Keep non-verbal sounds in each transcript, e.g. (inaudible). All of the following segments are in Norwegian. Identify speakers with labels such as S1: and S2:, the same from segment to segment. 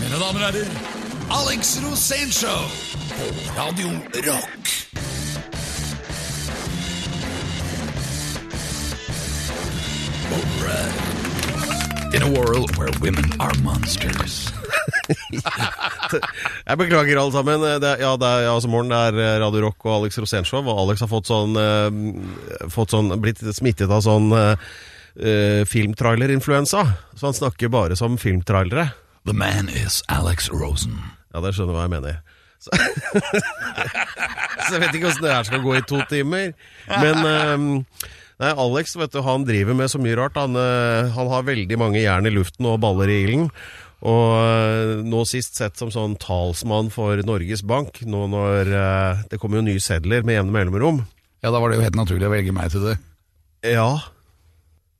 S1: Mine damer og herrer, Alex Rosénshow på Radio Rock. Alright. In a world where women are monsters.
S2: Jeg beklager alle sammen. Det er, ja, det er ja, altså, morgen, det er Radio Rock og Alex Rosénshow. Og Alex har fått sånn, eh, fått sånn blitt smittet av sånn eh, eh, filmtrailerinfluensa. Så han snakker bare som filmtrailere.
S1: The man is Alex Rosen.
S2: Ja, det skjønner du hva jeg mener. Så, (laughs) så jeg vet ikke åssen det her skal gå i to timer. Men eh, nei, Alex vet du, han driver med så mye rart. Han, eh, han har veldig mange jern i luften og baller i ilden. Og eh, nå sist sett som sånn talsmann for Norges Bank, nå når eh, det kommer jo nye sedler med jevne mellomrom.
S1: Ja, da var det jo helt naturlig å velge meg til det.
S2: Ja.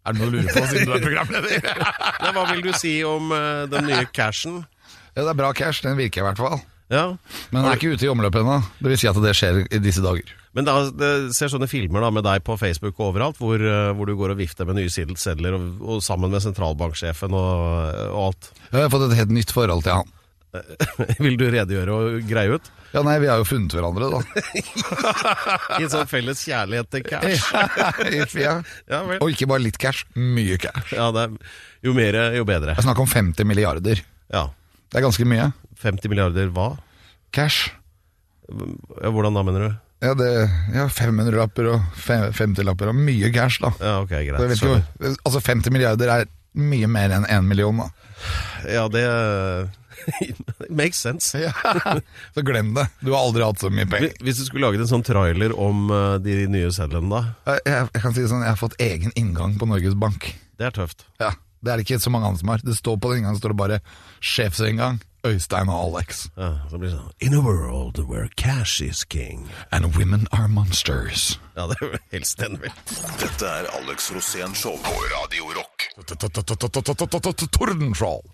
S1: Er det noe å lure på siden du er programleder?
S2: Nei, hva vil du si om eh, den nye cashen?
S1: (laughs) Ja, det er bra cash, den virker i hvert fall.
S2: Ja.
S1: Men den er ikke ute i omløpet ennå. Det vil si at det skjer i disse dager.
S2: Men da, det ser sånne filmer da med deg på Facebook og overalt, hvor, eh, hvor du går og vifter med nye sidel- sedler og, og sammen med sentralbanksjefen og, eh, og alt. (laughs)
S1: Jeg har fått et helt nytt forhold til han.
S2: Vil du redegjøre og greie ut?
S1: Ja, nei, vi har jo funnet hverandre, da.
S2: I en sånn felles kjærlighet til
S1: (laughs)
S2: cash.
S1: I tida.
S2: Ja, vel.
S1: Og ikke bare litt cash, mye cash.
S2: Ja, det er, jo mer, jo bedre.
S1: Det er snakk om 50 milliarder.
S2: Ja.
S1: Det er ganske mye.
S2: 50 milliarder hva?
S1: Cash.
S2: Ja, Hvordan da, mener du?
S1: Ja, det, ja 500-lapper og fe- 50-lapper og mye cash, da.
S2: Ja, ok,
S1: Så jeg
S2: greit.
S1: vet ikke, hvor- altså 50 milliarder er mye mer enn 1 million, da.
S2: Ja, det (laughs) Makes sense.
S1: (laughs) Ja. Så glem det. Du har aldri hatt så mye penger.
S2: Hvis du skulle laget en sånn trailer om eh, de nye sedlene, da?
S1: Jeg, jeg kan si det sånn, jeg har fått egen inngang på Norges Bank.
S2: Det er tøft.
S1: Ja, Det er det ikke så mange andre som har. Det står på den inngangen står det bare 'Sjefsinngang', Øystein og Alex.
S2: Ja, så blir det sånn In a world where cash is king.
S1: And women are monsters.
S2: Ja, det er helst den, vel.
S3: Dette er Alex Rosén Show på Radio Rock.
S1: Tordenskjold.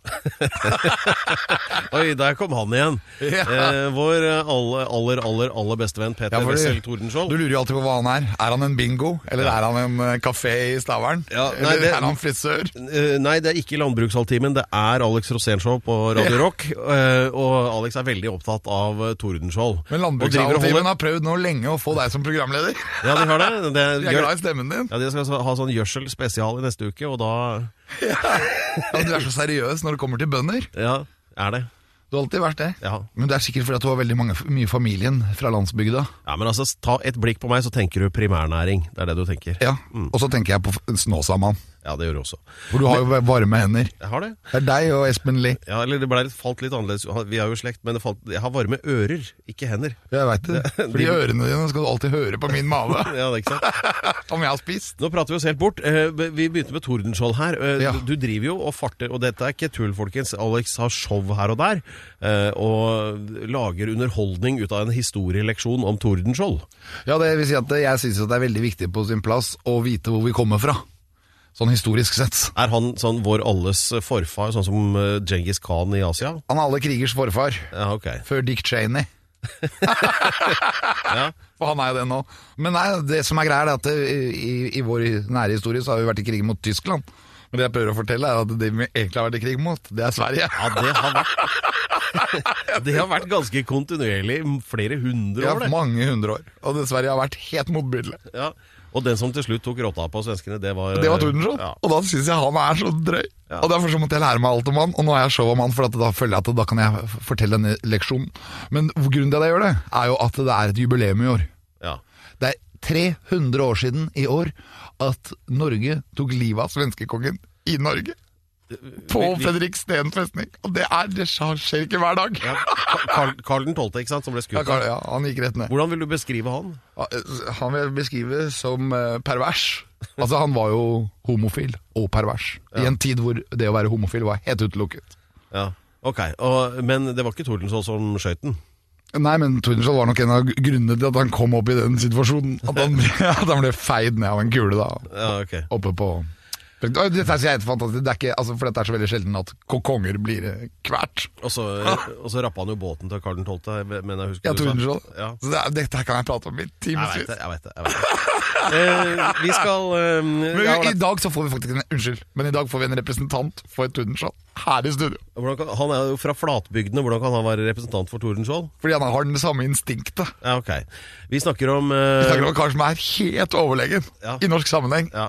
S2: Oi, der kom han igjen.
S1: (laughs) Ja.
S2: Eh, vår eh, aller, aller, aller aller beste venn Peter
S1: Ja, fordi-
S2: Wessel Tordenskjold.
S1: Du lurer jo alltid på hva han er. Er han en bingo? Eller er han en eh, kafé i Stavern?
S2: Ja, nei,
S1: Eller
S2: det-
S1: er han frisør?
S2: Eh, nei, det er ikke Landbrukshalvtimen. Det er Alex Rosénshow på Radio Rock. eh, og Alex er veldig opptatt av eh, Tordenskjold.
S1: Men
S2: Og driver og holder-
S1: Landbrukshalvtimen har prøvd nå lenge å få deg som programleder.
S2: Ja, de har det. det
S1: (laughs) Jeg er glad i stemmen din.
S2: ja, de skal ha sånn gjødsel spesial i neste uke, og da
S1: Ja, du er så seriøs når det kommer til bønder.
S2: Ja, er det.
S1: Du har alltid vært det.
S2: Ja.
S1: Men det er sikkert fordi at du har veldig mange, mye familien fra landsbygda.
S2: ja, men altså, ta et blikk på meg, så tenker du primærnæring. Det er det du tenker.
S1: Ja, Og så tenker jeg på f- Snåsamann,
S2: Ja, det gjør du også.
S1: for du har jo varme hender.
S2: Jeg har det.
S1: Det er deg og Espen Lie.
S2: Ja, eller det ble litt, falt litt annerledes. Vi er jo i slekt, men det falt, jeg har varme ører, ikke hender.
S1: Jeg veit det. Fordi ørene dine skal du alltid høre på min mage (laughs)
S2: Ja, det er ikke sant?
S1: om jeg har spist.
S2: Nå prater vi oss helt bort. Eh, Vi begynte med Tordenskjold her. Eh,
S1: Ja.
S2: Du driver jo og farter, og dette er ikke tull, folkens. Alex har show her og der, eh, og lager underholdning ut av en historieleksjon om Tordenskjold.
S1: Ja, det vil si at jeg syns det er veldig viktig på sin plass å vite hvor vi kommer fra. Sånn historisk sett.
S2: Er han sånn vår alles forfar, sånn som eh, Genghis Khan i Asia?
S1: Han er alle krigers forfar.
S2: Ja, ok.
S1: Før Dick Cheney.
S2: (laughs)
S1: For han er jo det nå. Men nei, det som er greia, er at det, i, i vår nære historie så har vi vært i krig mot Tyskland. Men det jeg prøver å fortelle, er at det vi egentlig har vært i krig mot, det er Sverige.
S2: Ja, det har vært... Det har vært (laughs) ganske kontinuerlig i flere hundre
S1: Ja,
S2: år, det.
S1: mange hundre år. Og det Sverige har vært helt motbydelig.
S2: Ja, og den som til slutt tok rotta på svenskene, det var
S1: Det var Tordenskjold.
S2: Ja.
S1: Og da syns jeg han er så drøy.
S2: Ja.
S1: Og Derfor så måtte jeg lære meg alt om han, og nå har jeg show om han, for at da føler jeg at da kan jeg f- fortelle denne leksjonen. Men grunnen til at jeg gjør det, er jo at det er et jubileum i år.
S2: Ja.
S1: Det er 300 år siden i år at Norge tok livet av svenskekongen i Norge. På
S2: vi-
S1: Fredriksten festning. Og det er det skjer ikke hver dag.
S2: Ja, Ka- Karl, Karl den 12., ikke sant, som ble
S1: Ja,
S2: skutt.
S1: Karl, ja, han gikk rett ned.
S2: Hvordan vil du beskrive han?
S1: eh, Han vil jeg beskrive som eh, pervers. Altså, han var jo homofil og pervers. I en tid hvor det å være homofil var helt utelukket.
S2: Ja, ok. Og, men det var ikke Tordenskjold som skjøt den.
S1: Nei, men Tordenskjold var nok en av grunnene til at han kom opp i den situasjonen. At han, at han ble (laughs) feid ned av en kule, da.
S2: Ja, ok.
S1: Oppe på Oi, Dette er så helt fantastisk, det er ikke, altså, for dette er så veldig sjelden at ko- konger blir eh, kvært.
S2: Og så, og så rappa han jo båten til Karl den 12., men jeg husker
S1: Ja,
S2: du sa-
S1: Tordenskjold.
S2: Ja.
S1: Så det er, dette her kan jeg prate om i
S2: Jeg vet
S1: timevis.
S2: det, jeg vet det. Jeg vet det. Eh, vi skal eh,
S1: Men
S2: ja,
S1: i dag så får vi faktisk en Unnskyld, men i dag får vi en representant for Tordenskjold her i studio.
S2: hvordan kan, Han er jo fra flatbygdene, hvordan kan han være representant for Tordenskjold?
S1: Fordi han har den samme instinktet.
S2: Ja, ok. Vi snakker om eh,
S1: Vi snakker om en kar som er helt overlegen
S2: Ja.
S1: i norsk sammenheng.
S2: Ja.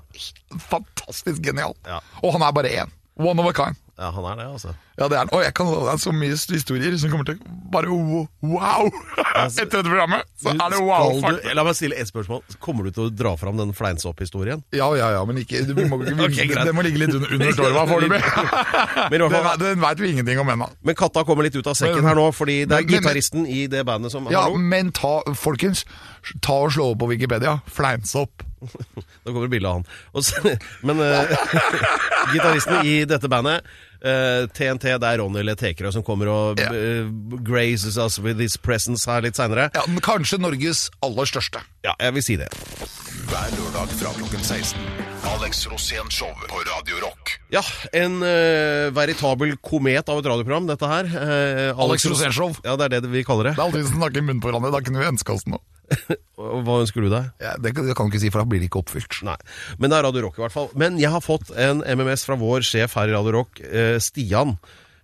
S1: Fantastisk genial.
S2: Ja.
S1: Og han er bare én. One of a kind.
S2: Ja, han er det, altså.
S1: Ja, det er han. Og jeg kan holde deg så mye historier som kommer til å bare wo- wow! (laughs)
S2: Altså,
S1: Etter dette programmet så er det wow.
S2: Skal du, la meg stille et spørsmål. Kommer du til å dra fram den fleinsopp-historien?
S1: Ja, ja, ja, men ikke, vi
S2: (laughs)
S1: må, vi,
S2: Ok, greit.
S1: det må ligge litt under, under torva foreløpig.
S2: (laughs) Men, i hvert
S1: Den,
S2: fall-
S1: den veit vi ingenting om ennå.
S2: men katta kommer litt ut av sekken her nå, fordi det er
S1: Men- men-
S2: gitaristen i det bandet som
S1: Ja,
S2: (laughs) Hallo?
S1: men ta, folkens, ta og slå opp på Wikipedia. Fleinsopp.
S2: Da kommer det bilde av han. Og så, men eh, (laughs) gitaristen i dette bandet, eh, TNT, det er Ronny Le Tekerø som kommer og
S1: Ja.
S2: eh, graces us with his presence her litt seinere.
S1: Ja, den kanskje Norges aller største.
S2: Ja, jeg vil si det.
S3: Hver lørdag fra klokken 16. Alex Rosén Show på Radio Rock.
S2: Ja, en eh, veritabel komet av et radioprogram, dette her. Eh,
S1: Alex Rosénshow.
S2: Ja, det er det vi kaller
S1: Det
S2: det.
S1: er alltid vi som snakker i munnen på hverandre. Da kunne vi ønske oss noe.
S2: Og Hva ønsker du deg?
S1: Ja, det, kan- det kan du ikke si, for da blir det ikke oppfylt.
S2: Nei, men det er Radio Rock i hvert fall. Men jeg har fått en MMS fra vår sjef her i Radio Rock, eh, Stian.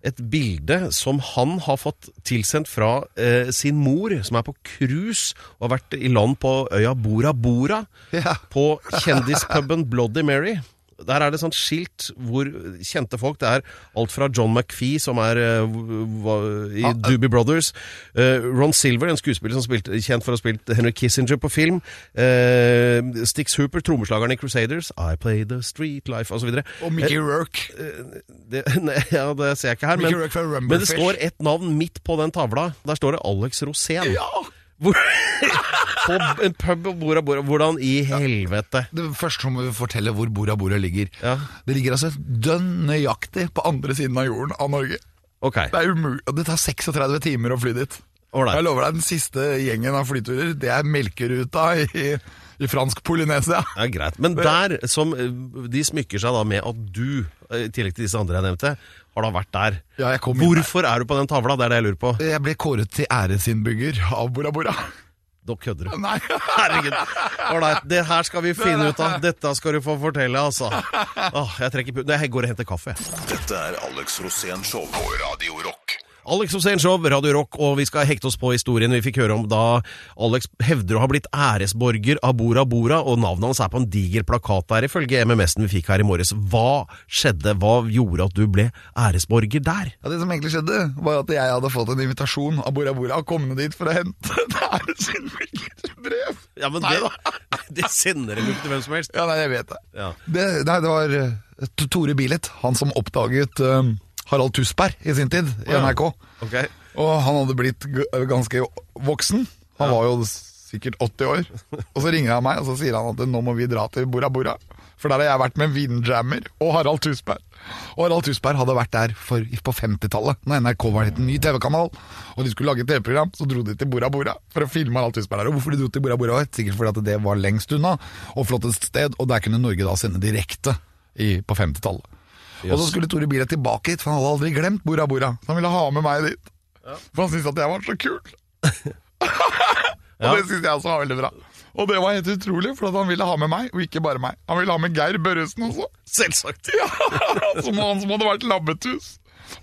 S2: Et bilde som han har fått tilsendt fra eh, sin mor, som er på cruise og har vært i land på øya Bora Bora.
S1: Ja.
S2: På kjendispuben Bloody Mary. Der er det sånt skilt hvor kjente folk Det er alt fra John McPhee, som er eh, hva- i
S1: Ah,
S2: Doobie Brothers. eh, Ron Silver, en skuespiller som spilte, kjent for å ha spilt Henry Kissinger på film. eh, Stix Hooper, trommeslageren i Crusaders. I play the street life, osv.
S1: Og Mickey Rourke.
S2: Eh, Det, (laughs) nei, ja, det ser jeg ikke her, men,
S1: Mickey Rourke fra
S2: men det
S1: Rumblefish.
S2: står ett navn midt på den tavla. Der står det Alex Rosén. Hvor, på en pub og Bora Bora. Hvordan i helvete?
S1: Det første må vi fortelle hvor Bora Bora ligger.
S2: Ja.
S1: Det ligger altså dønn nøyaktig på andre siden av jorden av Norge.
S2: Ok.
S1: Det er umulig, og det tar 36 timer å fly dit.
S2: Ålreit.
S1: Jeg lover deg, den siste gjengen av flyturer, det er melkeruta i, i fransk Polynesia.
S2: Ja, greit. Men der som eh, de smykker seg da med at du, eh, i tillegg til disse andre jeg nevnte, har da vært der.
S1: Ja, jeg kom inn
S2: Hvorfor er du på den tavla? Det er det jeg lurer på.
S1: Jeg ble kåret til æresinnbygger av Bora Bora.
S2: Nå kødder du.
S3: (laughs)
S1: Nei,
S2: Herregud. Ålreit, det her skal vi finne ut av. Dette skal du få fortelle, altså. Åh, jeg trekker pu... Nei, Jeg går og henter kaffe. jeg.
S3: Dette er Alex Rosén Show på Radio Rock.
S2: Alex Osen Show, Radio Rock, og vi skal hekte oss på historien vi fikk høre om da Alex hevder å ha blitt æresborger av Bora Bora, og navnet hans er på en diger plakat der, ifølge MMS-en vi fikk her i morges. Hva skjedde? Hva gjorde at du ble æresborger der?
S1: Ja, det som egentlig skjedde, var at jeg hadde fått en invitasjon av Bora Bora og kommet dit for å hente (laughs) et æresinnbyggerbrev.
S2: Ja, men
S1: Nei
S2: det,
S1: da.
S2: (laughs) det sender dem jo ikke til hvem som helst.
S1: Ja, nei, jeg vet det.
S2: Ja.
S1: Det, nei, det var eh, T- Tore Bilet, han som oppdaget eh, Harald Tusberg i sin tid i
S2: ja.
S1: NRK.
S2: Ok.
S1: Og han hadde blitt g- ganske voksen. Han var jo s- sikkert 80 år. Og så ringer han meg og så sier han at nå må vi dra til Bora Bora. For der har jeg vært med Windjammer og Harald Tusberg. Og Harald Tusberg hadde vært der for, på 50-tallet, når NRK var en ny TV-kanal. Og de skulle lage et TV-program, så dro de til Bora Bora for å filme Harald Tusberg der. Og hvorfor de dro til Bora Bora? var Sikkert fordi at det var lengst unna og flottest sted, og der kunne Norge da sende direkte i, på 50-tallet. Og så skulle Tore Bilet tilbake hit, for han hadde aldri glemt Bora Bora. Så han ville ha med meg dit. For han syntes at jeg var så kul. og det syntes jeg også var veldig bra. Og det var helt utrolig, for at han ville ha med meg, og ikke bare meg. Han ville ha med Geir Børresen også.
S2: Selvsagt.
S1: (laughs) Ja, som han som hadde vært labbetus.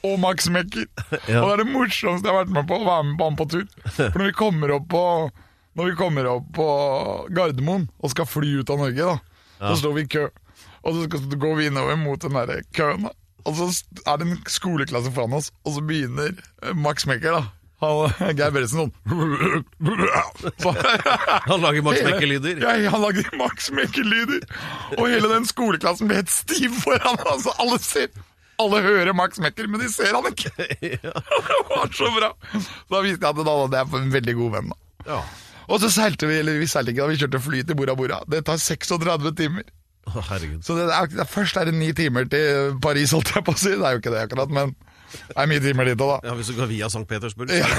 S1: Og Max Mekker.
S2: Ja.
S1: Og det er det morsomste jeg har vært med på, å være med på han på tur. For når vi kommer opp på, når vi kommer opp på Gardermoen og skal fly ut av Norge, da, så står vi i kø. Og så skal- så går vi innover mot den der køen, da. og så st- er det en skoleklasse foran oss, og så begynner eh, Max Mekker, da. Han, Geir Børresen sånn (laughs) så,
S2: Han lager Max
S1: Hele-
S2: Mekke-lyder.
S1: Ja, han lagde Max Mekke-lyder. Og hele den skoleklassen ble helt stiv foran ham. Altså, alle ser alle hører Max Mekker, men de ser han ikke. Det var så bra. Så da visste jeg at da hadde jeg en veldig god venn. Da.
S2: Ja.
S1: Og så seilte vi, eller vi seilte ikke, da vi kjørte fly til Bora Bora. Det tar 36 timer.
S2: Å, herregud.
S1: Så det er, det er- først er det ni timer til Paris, holdt jeg på å si. Det er jo ikke det akkurat, men det er mye timer dit òg, da.
S2: Ja, Hvis du går via St. Petersburg.
S1: Ja.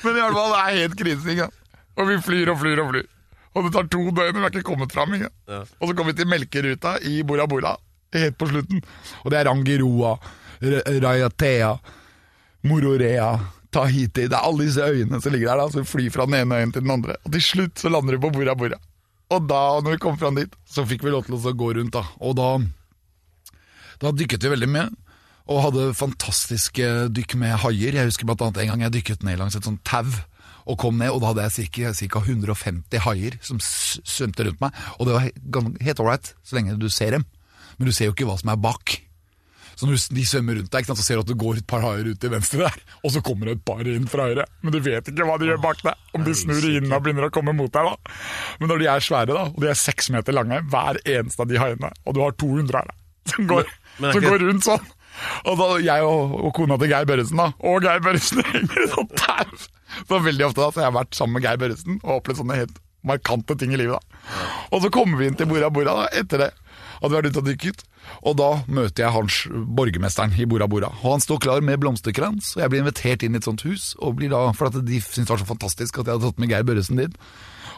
S1: Men i hvert fall, det er helt krise, ikke sant? Og vi flyr og flyr og flyr. Og det tar to døgn, og vi har ikke kommet fram. Ikke? sant? Og så kommer vi til melkeruta i Bora Bora, helt på slutten. Og det er Rangiroa, R- Rayatea, Mororea, Tahiti. Det er alle disse øyene som ligger der, da, så du flyr fra den ene øyen til den andre. Og til slutt så lander du på Bora Bora. Og da, når vi kom fram dit, så fikk vi lov til å gå rundt, da. Og da, da dykket vi veldig mye. Og hadde fantastiske dykk med haier. Jeg husker blant annet en gang jeg dykket ned langs et sånt tau. Og kom ned, og da hadde jeg ca. cirka 150 haier som s- svømte rundt meg. Og det var he- gan- helt ålreit så lenge du ser dem. Men du ser jo ikke hva som er bak. Så når du- de svømmer rundt deg, ikke sant, så ser du at det går et par haier ut til venstre der, og så kommer det et par inn fra høyre. Men du vet ikke hva de gjør bak deg, om de snur i hinnen og begynner å komme mot deg. da. Men når de er svære, da, og de er seks meter lange, hver eneste av de haiene, og du har 200 her, da, som går,
S2: men er
S1: som
S2: ikke-
S1: går rundt sånn. Og da, jeg og, og kona til Geir Børresen, da, og Geir Børresen henger i sånn tau. Så veldig ofte da, så jeg har vært sammen med Geir Børresen og opplevd sånne helt markante ting i livet. da. Og så kommer vi inn til Bora Bora da, etter det, at vi har vært ute og dykket. Og da møter jeg hans borgermesteren i Bora Bora. Og han står klar med blomsterkrans, og jeg blir invitert inn i et sånt hus. og blir da, For at de syntes det var så fantastisk at jeg hadde tatt med Geir Børresen dit.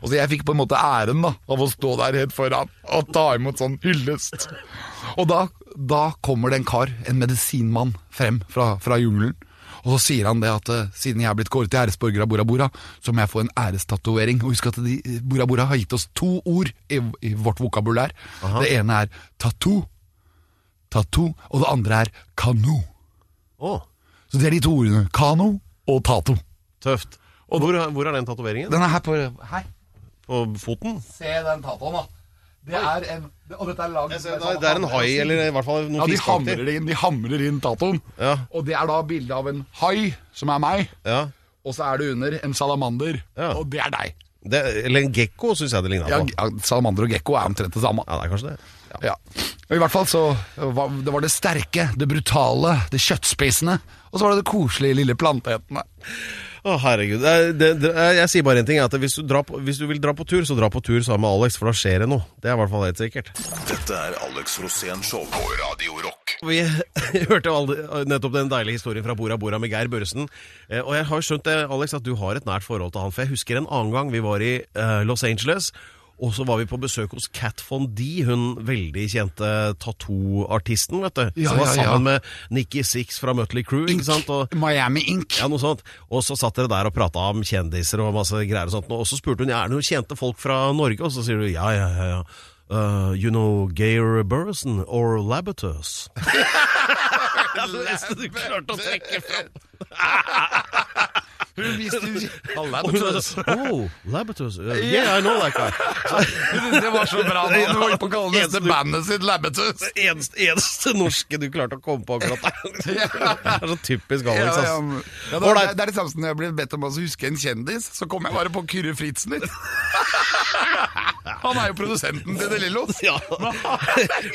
S1: Og så jeg fikk på en måte æren da, av å stå der helt foran og ta imot sånn hyllest. Og da, da kommer det en kar, en medisinmann, frem fra, fra jungelen. Og så sier han det at eh, siden jeg er blitt kåret til æresborger av Bora Bora, så må jeg få en ærestatovering. Og husk at de, Bora Bora har gitt oss to ord i, i vårt vokabulær. Det ene er tattoo, tattoo, og det andre er kano.
S2: Å,
S1: Så det er de to ordene. Kano og tato.
S2: tøft. Og hvor, hvor er den tatoveringen?
S1: Den er her på Her.
S2: På foten?
S1: Se den tatoen, da. Det er en Og dette er lagd
S2: det er en hai, eller i hvert fall noen
S1: Ja, de hamrer
S2: fiskeaktig.
S1: inn, de hamrer inn tatoen.
S2: Ja.
S1: Og det er da bilde av en hai, som er meg,
S2: Ja.
S1: og så er det under en salamander,
S2: Ja.
S1: og det er deg.
S2: Det, eller en gekko, syns jeg det ligna
S1: Ja,
S2: på.
S1: ja, salamander og gekko er omtrent det samme.
S2: Ja, det er kanskje det. Ja.
S1: Ja. Og I hvert fall så var det, var det sterke, det brutale, det kjøttspisende, og så var det det koselige lille planteetende.
S2: Å, herregud. Det, er- det, det, er- jeg sier bare én ting. At hvis du, drar på, hvis du vil dra på tur, så dra på tur sammen med Alex, for da skjer det noe. Det er i hvert fall helt sikkert.
S3: Dette er Alex Rosén Show på Radio Rock.
S2: Vi (laughs) hørte jo aldri- nettopp den deilige historien fra Bora Bora med Geir Børresen. Eh, Og jeg har jo skjønt det, Alex, at du har et nært forhold til han. For jeg husker en annen gang vi var i eh, Los Angeles. Og så var vi på besøk hos Kat Von D, hun veldig kjente tattooartisten, vet du.
S1: Ja,
S2: som var
S1: ja, ja.
S2: sammen med Nikki Six fra Mutley Crew, ikke sant. Og,
S1: Miami Ink.
S2: ja, noe sånt. Og så satt dere der og prata om kjendiser og masse greier og sånt. Og så spurte hun er det noen kjente folk fra Norge, og så sier du ja, ja, ja. ja. Uh, you know Geir Burson or Labatus? Ja, det eneste du klarte å trekke fram.
S1: (laughs) Hun viste
S2: Og hun sa, Oh, Labatus. Uh, yeah, I know that guy.
S1: Det var så bra da, hun holdt på å kalle
S2: Eneste
S1: neste
S2: du-
S1: bandet sitt Labbetus.
S2: Det eneste, eneste norske du klarte å komme på akkurat
S1: (laughs)
S2: der. Det er så typisk
S1: Ja,
S2: Alex,
S1: ja,
S2: ass.
S1: ja, det,
S2: Ålreit.
S1: er- det er det samme som når jeg ble bedt om å huske en kjendis, så kom jeg bare på Kyrre Fritzen
S2: (laughs)
S1: litt. Han er jo produsenten til De Lillos.
S2: (laughs)
S1: (laughs)
S2: Ja.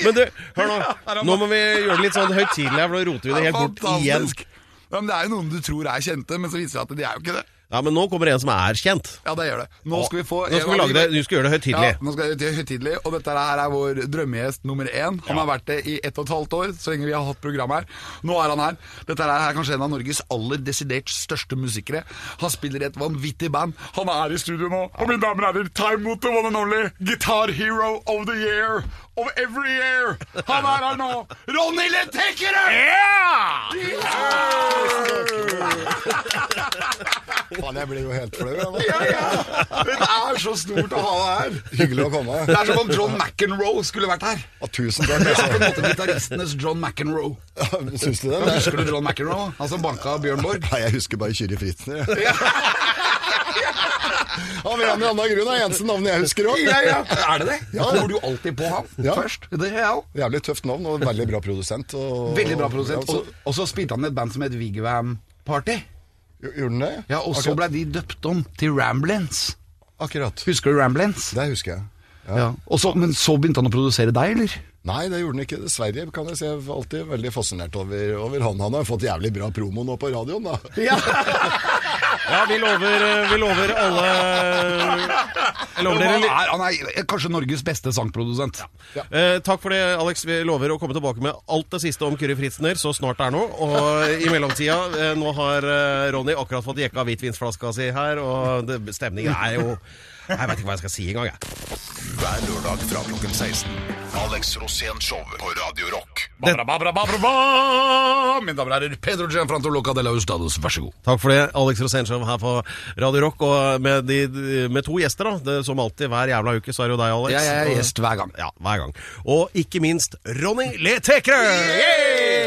S2: Men du, hør nå. Nå må vi gjøre det litt sånn høytidelig her, for nå roter vi det helt bort igjen.
S1: Fantastisk. Ja, men det er jo noen du tror er kjente, men så viser det seg at de er jo ikke det.
S2: Ja, men nå kommer en som er kjent.
S1: Ja, det gjør det. Nå skal vi få
S2: Nå skal vi lage det, du skal gjøre det høytidelig.
S1: Ja, nå skal jeg til høytidelig, og dette her er vår drømmegjest nummer én. Han har vært det i ett og et halvt år, så lenge vi har hatt program her. Nå er han her. Dette her er kanskje en av Norges aller desidert største musikere. Han spiller i et vanvittig band. Han er i studio nå, og mine damer og herrer, ta imot the one and only Guitar Hero of the Year of every year. Han er her nå, Ronny Letekkerød!
S4: Faen, jeg blir jo helt flau. jeg, nå.
S1: Ja, ja. Det er så stort å ha deg her.
S4: Hyggelig å komme.
S1: Det er som om John McEnroe skulle vært her.
S4: Ja, tusen takk.
S1: Det er på en
S4: Altså.
S1: måte gitaristenes John McEnroe.
S4: Ja, Syns du det?
S1: Men Husker du John McEnroe? Han som banka Bjørn Borg?
S4: Nei, jeg husker bare Kyrre Fritzner. jeg. Av en eller annen grunn er det eneste navnet jeg husker òg.
S1: Ja, ja. (laughs) Er det det?
S4: Ja.
S1: Tror du alltid på han
S4: Ja.
S1: først? Det gjør jeg òg.
S4: Jævlig tøft navn og veldig bra produsent. Og,
S1: Veldig bra produsent.
S3: altså-
S4: Ja,
S1: Og, og så spilte han i et band som het Vigvam Party.
S4: så- gjorde han det?
S1: Ja, Og så ble de døpt om til Ramblins.
S4: Akkurat. Akkurat.
S1: Husker du Ramblins?
S4: Det husker jeg.
S1: Ja. Og så, men så begynte han å produsere deg, eller?
S4: Nei, det gjorde han ikke. Dessverre, kan jeg si. Jeg er alltid veldig fascinert over, over han. Han har fått jævlig bra promo nå på radioen, da.
S2: Ja, vi lover, eh, vi lover alle Jeg lover dere
S1: han,
S2: litt.
S1: er, han er kanskje Norges beste sangprodusent.
S2: Eh, takk for det, Alex. Vi lover å komme tilbake med alt det siste om Kyrre Fritzner så snart det er noe. Og i mellomtida, eh, nå har eh, Ronny akkurat fått jekka hvitvinsflaska si her, og det, stemningen er jo Jeg veit ikke hva jeg skal si engang, jeg.
S3: Hver lørdag fra klokken 16. Alex Rosén Show på Radio Rock.
S1: Babra, babra, babra, babra.
S3: Mine damer og herrer, Pedro Gianfrantoloca de la Hustados, vær så god.
S2: Takk for det, Alex Rosenshov her på Radio Rock, og med, de, med to gjester, da. Det, som alltid, hver jævla uke, så er det jo deg, Alex.
S4: Jeg er gjest hver gang.
S2: Ja, hver gang. Og ikke minst Ronny Le Tekrø!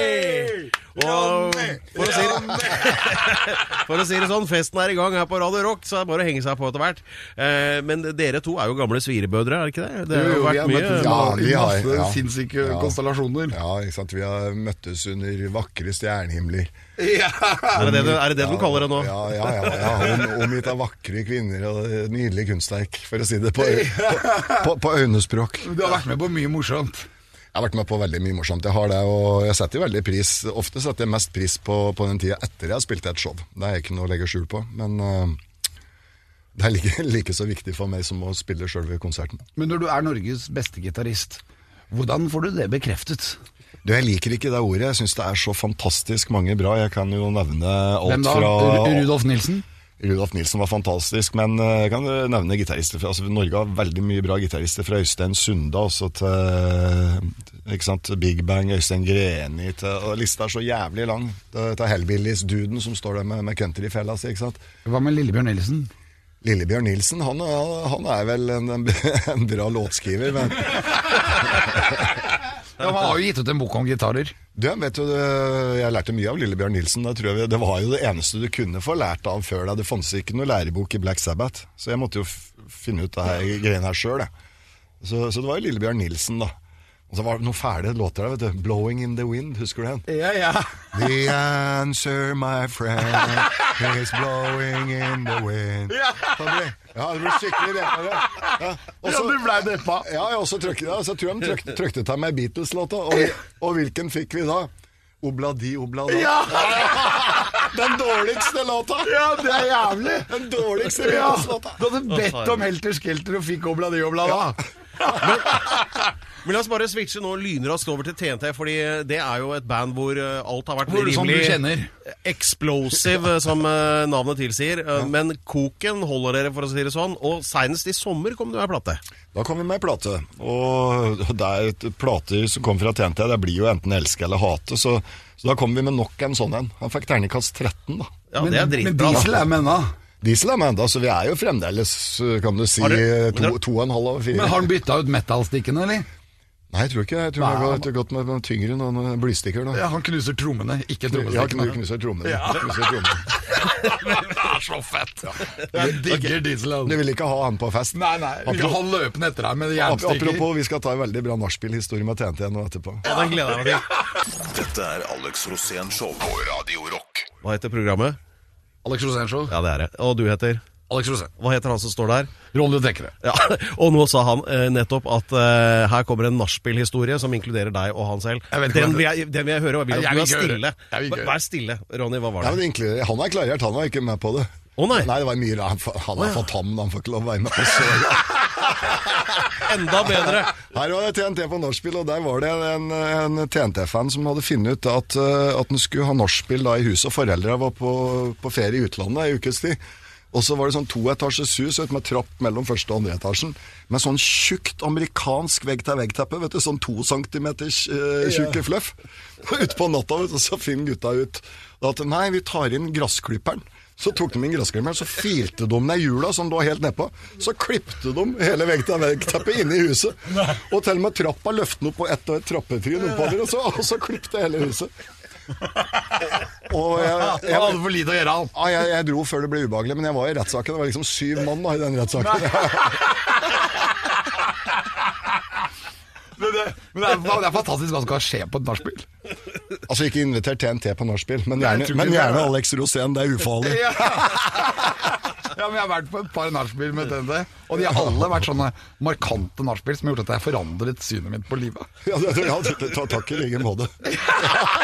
S2: Og for å, si det, (laughs) for å si det sånn, festen er i gang her på Radio Rock, så det er bare å henge seg på etter hvert. Eh, men dere to er jo gamle svirebødre, er det ikke det? Det har
S1: Jo,
S2: jo
S1: jo, vi
S2: vært
S1: har
S2: mye
S1: møttes.
S4: Ja, vi har-
S1: masse
S4: ja.
S1: sinnssyke
S4: Ja.
S1: konstellasjoner.
S4: Ja, ikke sant. Vi har møttes under vakre stjernehimler.
S1: (laughs)
S2: Er det det, du- er det, det de kaller det nå?
S4: Ja, ja, ja. ja. Om- Omgitt av vakre kvinner og eh, nydelig kunstverk, for å si det på, på, på øynespråk.
S1: Du har vært med på mye morsomt.
S4: Jeg har vært med på veldig mye morsomt. Jeg har det, og jeg setter jo veldig pris Ofte setter jeg mest pris på, på den tida etter jeg spilte et show. Det er ikke noe å legge skjul på. Men øh, det er like, (laughs) like så viktig for meg som å spille sjølve konserten.
S5: Men når du er Norges beste gitarist, hvordan får du det bekreftet?
S4: Du, Jeg liker ikke det ordet. Jeg syns det er så fantastisk mange bra. Jeg kan jo nevne alt
S5: Hvem da?
S4: fra
S5: Ru- Rudolf Nilsen?
S4: Rudolf Nilsen var fantastisk, men eh, jeg kan jo nevne gitarister fra altså, Norge har veldig mye bra gitarister fra Øystein Sunda også til eh, ikke sant, Big Bang, Øystein Greni til, og Lista er så jævlig lang. Det det er Hellbillies-duden som står der med, med countryfella si. ikke sant?
S5: Hva med Lillebjørn Nilsen?
S4: Lillebjørn Nilsen, han, er- han er vel en, en, en bra låtskriver, men
S1: Ja, Man har jo gitt ut en bok om gitarer.
S4: Du, vet du, Jeg lærte mye av Lillebjørn Nilsen. Da tror jeg, det var jo det eneste du kunne få lært av før deg. Det fantes ikke noe lærebok i Black Sabbath, så jeg måtte jo f finne ut det her greiene her sjøl. Så, så det var jo Lillebjørn Nilsen, da. Og så var det noen fæle låter der. vet du 'Blowing in the Wind', husker du den?
S5: Ja, ja.
S4: The answer, my friend, is blowing in the wind. Da ble- Ja, det ble skikkelig deppa. Ja, ja. Og så- Ja, jeg også trykket, ja, så tror jeg de trykte, trykte til meg Beatles-låta. Og, og hvilken fikk vi da? Obladi, oblada. (laughs) Den dårligste låta!
S1: Ja, det er jævlig!
S4: Den dårligste
S1: (laughs) Ja,
S4: Beatles-låta.
S1: Du hadde bedt om Helter Skelter og fikk obla di obla da.
S2: Men la oss bare switche nå lynraskt over til TNT, fordi eh, det er jo et band hvor eh, alt har vært
S1: Hvor du- som du
S2: rimelig
S1: kjenner.
S2: Explosive, eh, som eh, navnet tilsier. Eh, Men koken holder dere, for å si det sånn. Og seinest i sommer kom det ei plate.
S4: Da kom vi med ei plate. Og (laughs) det er et plater som kommer fra TNT. Det blir jo enten elske eller hate. Så, så da kom vi med nok en sånn en. Han fikk terningkast 13, da.
S2: Ja, det er
S5: Men
S2: dritbra. da.
S5: Diesel er med ennå.
S4: Diesel er med ennå, så vi er jo fremdeles, eh, kan du si,
S2: Har dere-
S4: to, to og en halv over
S5: Men
S4: fire.
S5: har han bytta ut metal-stikkene, eller?
S4: Nei, jeg tror ikke Jeg tror det har gått- gått med med tyngre nå, med blystikker nå.
S1: Ja, han knuser trommene, ikke
S4: Ja, knu-
S1: trommestikkene.
S4: knuser trommene. Knuser trommene.
S1: Det er så fett! Jeg digger diesel.
S4: Du
S1: altså.
S4: vil ikke ha han på fest?
S1: Nei, nei. Vi kan ha han løpende etter deg med
S4: Ap-
S1: jernstikker.
S4: Apropos, vi skal ta en veldig bra nachspiel-historie med TNT nå etterpå.
S2: Ja, den gleder jeg meg til.
S3: Dette er Alex Rosén Show på Radio Rock.
S2: Hva heter programmet?
S1: Alex Rosén Show.
S2: Ja, det er det. Og du heter?
S1: Alex Rosén.
S2: Hva heter han som står der?
S1: Ronny Dekkere.
S2: Ja, (laughs) Og nå sa han eh, nettopp at eh, her kommer en nachspiel-historie som inkluderer deg og han selv.
S1: Jeg vet ikke
S2: Den
S1: hva-
S2: vil jeg, den vil jeg høre, og jeg vil
S1: Jeg
S2: at
S1: vil
S2: du er
S1: ikke høre.
S2: stille.
S1: Jeg vil ikke høre.
S2: Vær stille. Ronny, hva var
S4: Ja,
S2: det?
S4: men egentlig, Han er klarert, han var ikke med på det.
S2: Å, nei.
S4: det var mye rart. Han- Han er for tam, han får ikke lov å være med på
S2: (laughs)
S4: så
S2: Enda bedre!
S4: Her var det TNT på nachspiel, og der var det en, en TNT-fan som hadde funnet ut at, eh, at han skulle ha nachspiel da i huset, og foreldra var på, på ferie i utlandet i ukes tid. Og så var det sånn toetasjes hus ut med trapp mellom første og andre etasjen. Med sånn tjukt amerikansk vegg-til-vegg-teppe, vet du, sånn to centimeters eh, tjukke fluff. Og utpå natta, vet du, så finner gutta ut at nei, vi tar inn gressklipperen. Så tok de inn gressklipperen, så filte de ned hjula som lå helt nedpå. Så klipte de hele vegg-til-vegg-teppet inne i huset. Og til og med trappa løftet den opp på ett og et trappetrinn oppover, og så, og så klipte hele huset. Og, og jeg,
S1: Han
S4: jeg,
S1: hadde for lite å gjøre, han.
S4: ja, jeg, jeg dro før det ble ubehagelig, men jeg var i rettssaken. Det var liksom syv mann da, i den rettssaken.
S1: Men det, men det, er, det er fantastisk hva som kan skje på et nachspiel.
S4: Altså ikke invitert TNT på nachspiel, men
S1: Nei, jeg
S4: gjerne,
S1: tror ikke
S4: men
S1: det er
S4: gjerne
S1: det.
S4: Alex Rosén. Det er ufarlig.
S1: Ja. (laughs) ja, men jeg har vært på et par nachspiel med TNT, og de har alle vært sånne markante nachspiel som har gjort at jeg har forandret synet mitt på livet.
S4: (laughs) Ja, det- ja, det- ta- takk i like måte.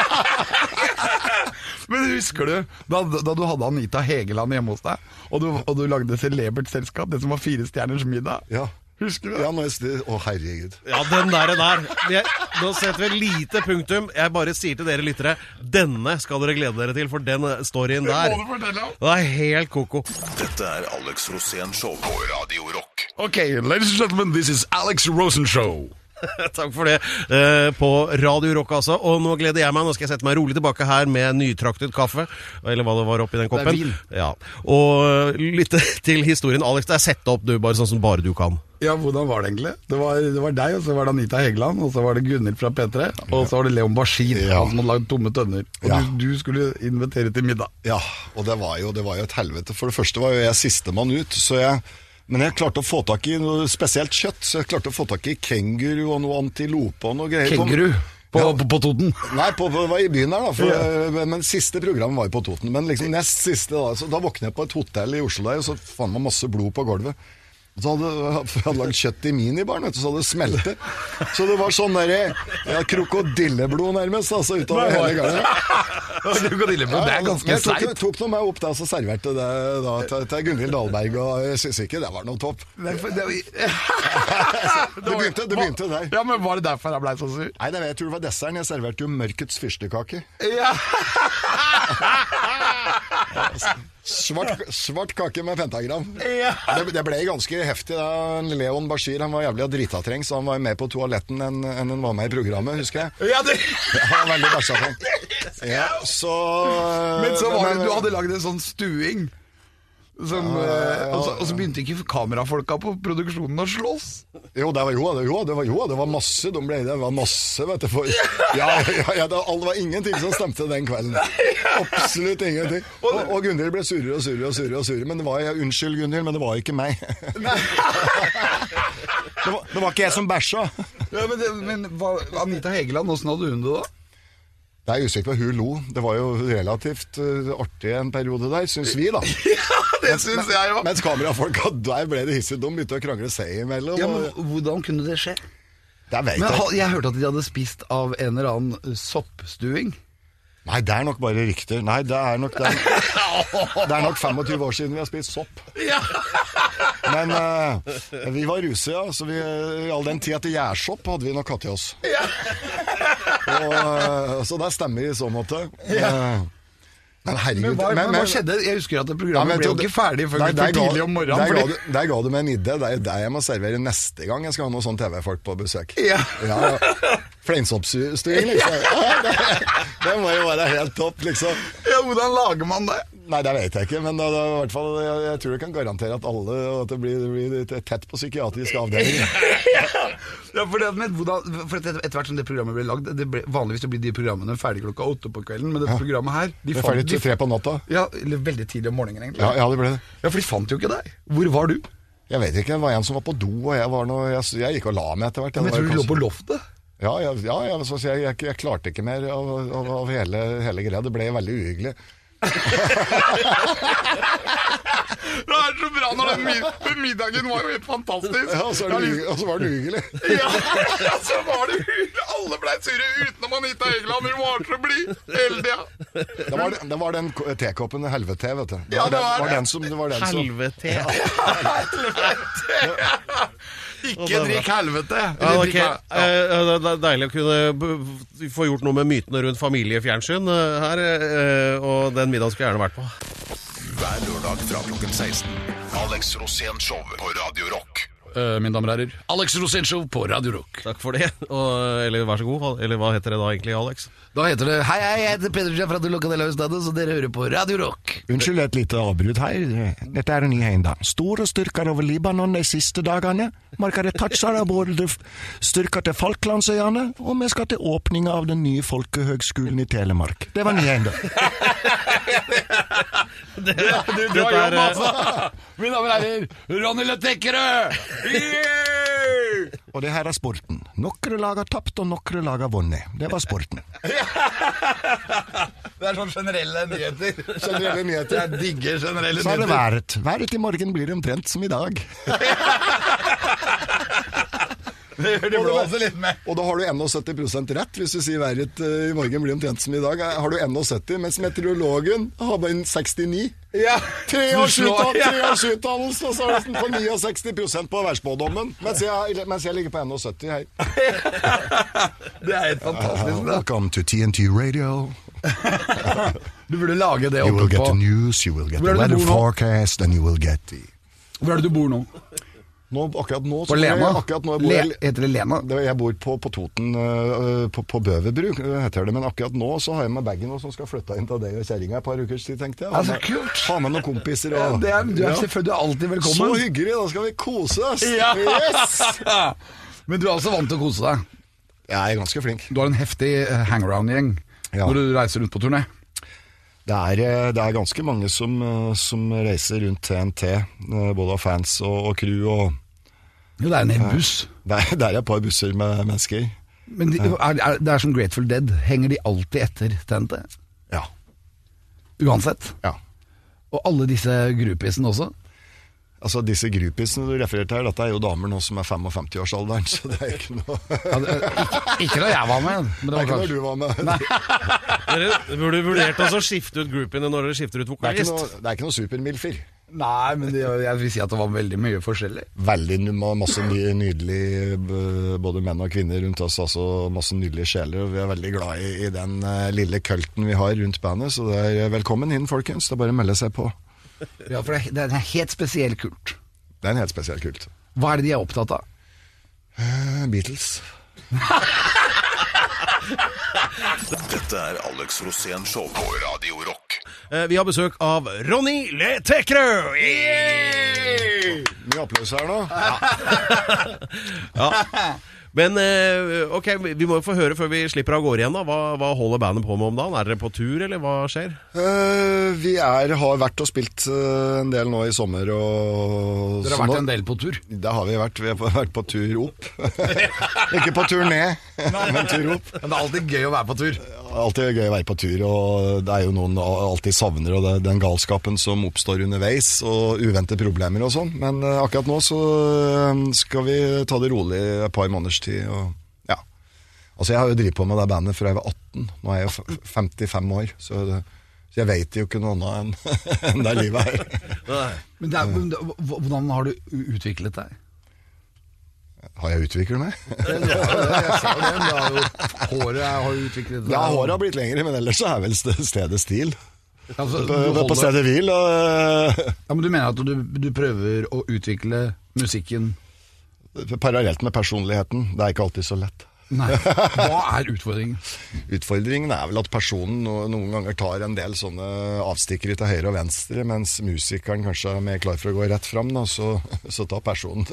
S1: (laughs) Men husker du da, da du hadde Anita Hegeland hjemme hos deg, og du, og du lagde celebert selskap, det som var fire stjerners middag?
S4: Ja.
S1: Husker du det?
S4: Ja, nå er jeg stille. Å, herregud.
S2: Ja, den der, der. Jeg, nå setter vi et lite punktum. Jeg bare sier til dere lyttere, denne skal dere glede dere til, for den storyen der
S1: må du fortelle om.
S2: Det er helt koko.
S3: Dette er Alex Rosén Show på Radio Rock.
S1: Ok, ladies and gentlemen, this is Alex Rosen Show.
S2: (laughs) Takk for det eh, på Radio Rock, altså. Og nå gleder jeg meg. Nå skal jeg sette meg rolig tilbake her med nytraktet kaffe. Eller hva det var oppi den koppen.
S1: Det er vin.
S2: Ja. Og eh, lytte (laughs) til historien. Alex, det er sett opp, du, bare sånn som bare du kan.
S1: Ja, hvordan var det egentlig? Det var, det var deg, og så var det Anita Hegeland, og så var det Gunhild fra P3, og så var det Leon Bashin,
S4: Ja.
S1: han som hadde lagd tomme tønner. Og
S4: Ja.
S1: du, du skulle invitere til middag.
S4: Ja, og det var, jo, det var jo et helvete. For det første var jo jeg sistemann ut, så jeg men jeg klarte å få tak i noe spesielt kjøtt. Så jeg klarte å få tak i kenguru og noe antilope og noe greier.
S1: Kenguru på,
S4: Ja.
S1: på, på (laughs) Toten.
S4: Nei, på, på, det var i byen der, da. For, eh, men, men siste programmet var jo på Toten. Men liksom nest siste, da. Så da våkner jeg på et hotell i Oslo der, og så fant man masse blod på gulvet. Og Så hadde (laughs) jeg hadde lagd kjøtt i minibaren, vet du, så hadde det smeltet. Så det var sånn derre ja, krokodilleblod, nærmest, altså utover hele gangen.
S1: Krokodilleblod, det er ganske
S4: Jeg tok,
S1: seigt.
S4: tok noe med opp der, så serverte det da, til, til Gunhild Dahlberg, og jeg syns ikke det var noe topp. (laughs) Altså,
S1: Det er for- det er- (laughs)
S4: Det begynte, det begynte der.
S1: Ja, men var det derfor jeg blei så sur?
S4: Nei, det, jeg tror det var desserten. Jeg serverte jo Mørkets fyrstekake.
S1: Ja.
S4: Svart, svart kake med pentagram.
S1: Ja.
S4: Det, det ble ganske heftig. da Leon Bashir han var jævlig dritatreng, så han var mer på toaletten enn enn han var med i programmet, husker
S1: (laughs)
S4: jeg.
S1: ja det,
S4: Han var veldig bæsjatreng. Ja, så
S1: men så var det, du hadde lagd en sånn stuing. Som, eh, og, så, og så begynte ikke kamerafolka på produksjonen å slåss.
S4: Jo, det var, jo, det, jo, det var, jo, det var masse. De ble, det var masse, vet du. For, ja, ja, ja, det, var- det var ingenting som stemte den kvelden. Absolutt ingenting. Og, og Gunhild ble surere og surere og surere. og surere Men det var, ja, Unnskyld, Gunhild, men det var ikke meg. Det var, (laughs) det var ikke jeg som bæsja.
S1: Ja, men, det, men hva- Anita Hegeland, åssen hadde hun det da?
S4: Det er usikker på hun lo. Det var jo relativt eh, artig en periode der, syns vi, da.
S1: (laughs) Det syns jeg òg.
S4: Mens kamerafolka der ble det hissig. De begynte å krangle seg imellom.
S1: Ja,
S4: og-
S1: men hvordan kunne det skje?
S4: Det vet
S1: Men
S4: jeg.
S1: ha- Jeg hørte at de hadde spist av en eller annen eh, soppstuing.
S4: Nei, det er nok bare rykter. Nei, det er nok det. Det er nok 25 år siden vi har spist sopp. Men eh, vi var ruset, ja. Så vi, eh, all den tida til gjærsopp hadde vi nok hatt i oss. Og, eh, så det stemmer i så måte. Eh, Men herregud.
S1: Men hva,
S4: men- men-
S1: skjedde? Jeg husker at
S4: Ja,
S1: programmet
S4: men
S1: ble
S4: jeg
S1: jo
S4: tror-
S1: ikke ferdig før
S4: Nei, der
S1: for
S4: ga-
S1: tidlig om
S4: Der,
S1: morgenen.
S4: ga, du- der ga du meg en idé. Det er det jeg må servere neste gang jeg skal ha noen sånne TV-folk på besøk.
S1: Ja.
S4: ja Fleinsoppstyring,
S1: (laughs)
S4: liksom. Ja, det, (laughs) det må jo være helt topp, liksom.
S1: Ja, hvordan lager man det?
S4: Nei, det vet jeg ikke, men det, det, er i hvert fall, jeg, jeg tror jeg kan garantere at alle at det blir, det blir tett på psykiatrisk avdeling.
S1: Ja, for det, men hvordan, for et, etter hvert som det programmet ble lagd det ble, Vanligvis så blir de programmene ferdig klokka åtte på kvelden, men det programmet her de
S4: Det er
S1: fant-
S4: ferdig til
S1: de-
S4: tre på natta.
S1: Ja, eller veldig tidlig om morgenen, egentlig.
S4: Ja, ja, det ble det.
S1: Ja, for de fant jo ikke deg. Hvor var du?
S4: Jeg vet ikke, det var en som var på do, og jeg, var noe, jeg, jeg gikk og la meg etter hvert.
S1: Men jeg
S4: Det var
S1: tror
S4: jo
S1: du lå
S4: kanskje-
S1: på loftet.
S4: Ja, ja, ja ja, så å si, jeg, jeg, jeg klarte ikke mer av, av, av hele, hele greia. Det ble veldig uhyggelig.
S6: Det er så bra når den mid den middagen var jo helt fantastisk.
S4: Ja, og så, er det uhy- og så var det uhyggelig.
S6: Ja,
S1: (laughs)
S6: så var det Alle blei sure utenom Anita Egeland. Hun var så blid hele tida.
S4: Det var, det var den ko- tekoppen helvete, vet du. Det
S6: Ja,
S4: var,
S6: det var
S4: den,
S6: det.
S4: var den som, det var den som
S2: Helvete. (laughs)
S6: Ikke drikk helvete.
S2: Ja,
S6: Eller
S2: ok.
S6: drikk he-
S2: Eh, eh, det er deilig å kunne b- få gjort noe med mytene rundt familiefjernsyn eh, her. eh, Og den middagen skulle jeg gjerne vært på.
S3: Hver lørdag fra klokken 16. Alex Rosén Show på Radio Rock.
S6: Eh,
S1: mine damer og herrer, Alex Rosenshov på Radio Rock.
S2: Takk for det. Og, eller vær så god. Eller hva heter det da egentlig, Alex?
S1: Da heter det Hei, hei, jeg heter Peder Jeff fra Locadella Østlandet, så dere hører på Radio Rock.
S4: Unnskyld et lite avbrudd her. Dette er en ny eiendom. Store styrker over Libanon de siste dagene. Markedet toucher av både styrker til Falklandsøyene, og vi skal til åpninga av den nye folkehøgskolen i Telemark. Det var ny eiendom.
S1: Du
S2: drar Dette er, jobb,
S1: altså! Mine damer og herrer, Ronny Løttekkerød!
S4: Og det her er sporten. Nokre lag har tapt, og nokre lag har vunnet. Det var sporten.
S1: Det er sånn generelle nyheter. Sånn
S4: Generelle nyheter.
S1: Jeg digger generelle
S4: Så er det
S1: nyheter.
S4: været. Været i morgen blir omtrent som i dag.
S1: Det gjør de
S4: Og det
S1: blå
S4: var-
S1: også litt med.
S4: Og da har du 71 rett hvis du sier været eh, i morgen blir omtrent som i dag. Eh, Har du 71, mens meteorologen har bare en 69.
S1: Ja.
S4: Tre års
S1: Du slår,
S4: utdannelse,
S1: ja.
S4: (laughs) tre års utdannelse, og så er det på 69 på værspådommen. Mens jeg, mens jeg ligger på 71 her.
S1: Det er helt fantastisk. Da.
S4: Welcome to TNT Radio.
S1: Du burde lage det
S4: You will
S1: oppe
S4: get
S1: på
S4: the news, you will get
S1: Hvor er
S4: the
S1: det du
S4: weather
S1: bor nå?
S4: forecast, and you will get the...
S1: Hvor er det du bor nå?
S4: Nå, akkurat nå så
S1: På
S4: bor jeg-
S1: Lena?
S4: Akkurat nå bor
S1: Le,
S4: jeg,
S1: heter det Lena?
S4: det, jeg bor på, på Toten, øh, på, på Bøverbru, øh, heter det. Men akkurat nå så har jeg med bagen og som skal flytte inn til deg og kjerringa et par ukers tid, tenkte jeg. Ha
S1: Altså,
S4: med-
S1: kult.
S4: Ha med noen kompiser
S1: Ja,
S4: og
S1: det er, du er
S4: Ja.
S1: selvfølgelig alltid
S4: Så
S1: velkommen.
S4: hyggelig, da skal vi kose oss!
S1: Ja. (laughs)
S4: Yes!
S1: Men du er også vant til å kose deg.
S4: Jeg er ganske flink.
S1: Du har en heftig eh, hangaround-gjeng
S4: Ja.
S1: når du reiser rundt på turné.
S4: Det er, eh, det er ganske mange som, eh, som reiser rundt TNT, eh, både av fans og, og crew. Og (laughs)
S1: Jo, det er en hel buss.
S4: det er, det er et par busser med mennesker.
S1: Men de, er, er, det er som Grateful Dead. Henger de alltid etter TNT?
S4: Ja.
S1: Uansett.
S4: ja.
S1: Og alle disse groupiesene også.
S4: Altså Disse groupiesene du refererte til, her, dette er jo damer nå som er 55-årsalderen. Så det er ikke noe Det
S1: Ja, det, ikke, ikke da jeg var med, (laughs) men det
S4: er
S1: var
S4: ikke når
S1: klart.
S4: du var med.
S2: eh, Dere burde vurdert også å skifte ut groupiene når dere skifter ut
S4: Det er ikke
S2: vokalist.
S4: noe, det er ikke noe supermilfer.
S1: Nei, men det, jeg vil si at det var veldig mye forskjellig.
S4: Veldig nu- ma- masse ny- nydelig b- både menn og kvinner rundt oss, altså masse nydelige sjeler. Og vi er veldig glad i, i den eh, lille kulten vi har rundt bandet, så det er eh, velkommen inn, folkens. Det er bare å melde seg på.
S1: Ja, for det, det er en helt spesiell kult.
S4: Det er en helt spesiell kult.
S1: Hva er det de er opptatt av?
S4: Eh, Beatles.
S3: Dette er Alex Rosén Show på Radio Rock.
S2: Eh, Vi har besøk av Ronny Le Tekrø!
S4: Mye applaus her nå.
S2: Men eh, ok, vi må jo få høre før vi slipper av gårde igjen. da hva, hva holder bandet på med om dagen? Er dere på tur, eller hva skjer?
S4: Eh, vi er, har vært og spilt eh, en del nå i sommer. Og,
S1: Dere har
S4: så
S1: vært
S4: nå-
S1: en del på tur.
S4: Det har vi vært. Vi har vært på tur opp. (laughs) Ikke på tur ned, men tur
S1: (laughs)
S4: opp.
S1: Men det er alltid gøy å være på tur.
S4: Alltid gøy å være på tur, og det er jo noen alltid savner, og det, den galskapen som oppstår underveis, og uventede problemer og sånn. Men eh, akkurat nå så eh, skal vi ta det rolig et par måneders tid, og ja. Altså, jeg har jo drivet på med det bandet fra jeg var 18. Nå er jeg jo f- 55 år, så, det, så jeg vet jo ikke noe annet enn, (laughs) enn det livet her.
S1: Men det er, men det- hv- hvordan har du u- utviklet deg?
S4: Har jeg utviklet meg?
S1: Jeg ser det, men det har jo, håret har jo utviklet
S4: Ja, håret har blitt lengre, men ellers så er vel st- stedet stil.
S1: Altså, du
S4: På, på
S1: holder-
S4: stedet hvil, og (laughs) eh,
S1: Ja, men du mener at du, du prøver å utvikle musikken
S4: parallelt med personligheten. Det er ikke alltid så lett. (laughs)
S1: Nei. Hva er utfordringen?
S4: Utfordringen er vel at personen no- noen ganger tar en del sånne avstikkere til høyre og venstre, mens musikeren kanskje er mer klar for å gå rett fram, da, så, (laughs) så tar personen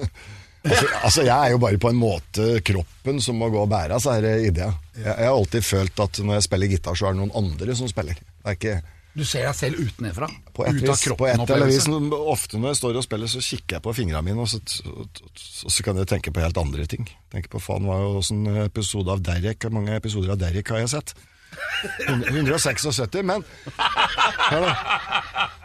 S4: (laughs) altså, altså, jeg er jo bare på en måte kroppen som må gå og bære av disse ideene. Jeg, jeg har alltid følt at når jeg spiller gitar, så er det noen andre som spiller. Det er ikke
S1: Du ser deg selv utenfra.
S4: på et,
S1: ut av
S4: vis, på et eller annet vis,
S1: kroppen-opplevelse.
S4: Ofte når jeg står og spiller, så kikker jeg på fingrene mine, og så, og så kan jeg tenke på helt andre ting. Tenke på faen, hva er en sånn episode av Derek? Hvor mange episoder av Derek har jeg sett? 176, men Hør da.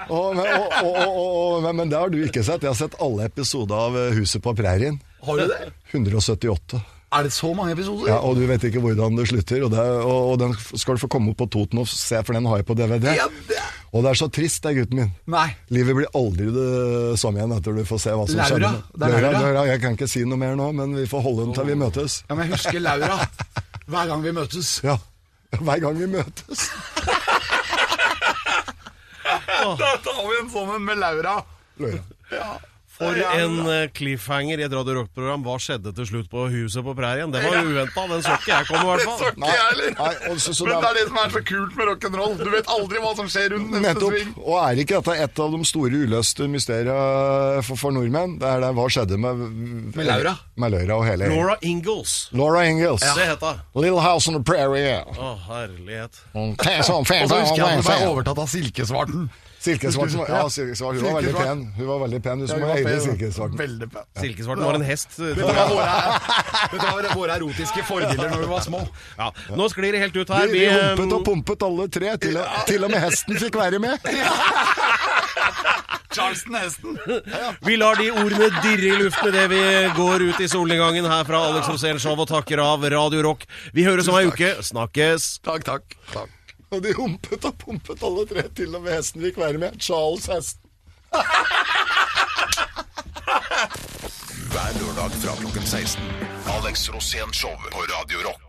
S4: og, men, og, og, og, og, men, men det har du ikke sett. Jeg har sett alle episoder av eh, Huset på prærien.
S1: Har du det?
S4: 178.
S1: Er det så mange episoder?
S4: Ja, og du vet ikke hvordan det slutter, og, det, og, og den skal du få komme opp på Toten og se, for den har jeg på DVD.
S1: Ja, det-
S4: Og det er så trist, det, gutten min.
S1: Nei.
S4: Livet blir aldri det samme igjen etter du får se hva som
S1: Laura,
S4: skjer.
S1: det er Laura.
S4: Jeg kan ikke si noe mer nå, men vi får holde den til vi møtes.
S1: Ja, men jeg husker Laura hver gang vi møtes.
S4: Ja. Hver gang vi møtes.
S1: Da tar vi en sånn en med Laura.
S4: Laura.
S2: For en eh, cliffhanger i et Radio Rock-program. Hva skjedde til slutt på Huset på prærien? Det var uventa, (laughs) den så ikke jeg komme, i hvert fall.
S4: Nei, nei, og så, så
S1: Men det
S4: det
S1: er det som er så kult med rock'n'roll. Du vet aldri hva som skjer rundt
S4: er
S1: neste sving.
S4: Nettopp. Og er ikke dette et av de store uløste mysteriene for, for nordmenn? Det er det hva skjedde med
S1: Med Laura.
S4: Med Laura og hele
S2: Laura Ingalls.
S4: Laura Ingles.
S2: Det het hun.
S4: Little House on the Prairie. sånn
S2: Å,
S1: (laughs)
S2: herlighet.
S1: Og så husker jeg at hun ble overtatt av silkesvarten.
S4: Silkesvart. som- Ja, silkesvart. Hun var veldig
S1: Silkesvart.
S4: pen. Hun var veldig pen, hun som
S1: Hun var
S4: eide
S1: pen.
S4: silkesvarten.
S1: Veldig pen.
S2: Silkesvarten var en hest.
S1: Dette var våre- dette var våre erotiske forbilder når vi var små.
S2: Ja, nå sklir det helt ut her.
S4: Vi, vi
S2: eh,
S4: humpet og pumpet alle tre, til og, til og med hesten fikk være med.
S1: Charleston Hesten.
S2: Vi lar de ordene dirre i luften idet vi går ut i solnedgangen her fra Alex Rosén Show og takker av Radio Rock. Vi høres om ei uke. Snakkes!
S1: Takk, takk. takk.
S4: Og de humpet og pumpet alle tre, til og med hesten fikk være med. Charles Hesten.
S3: Hver lørdag fra klokken 16. Alex Rosén Show på Radio Rock.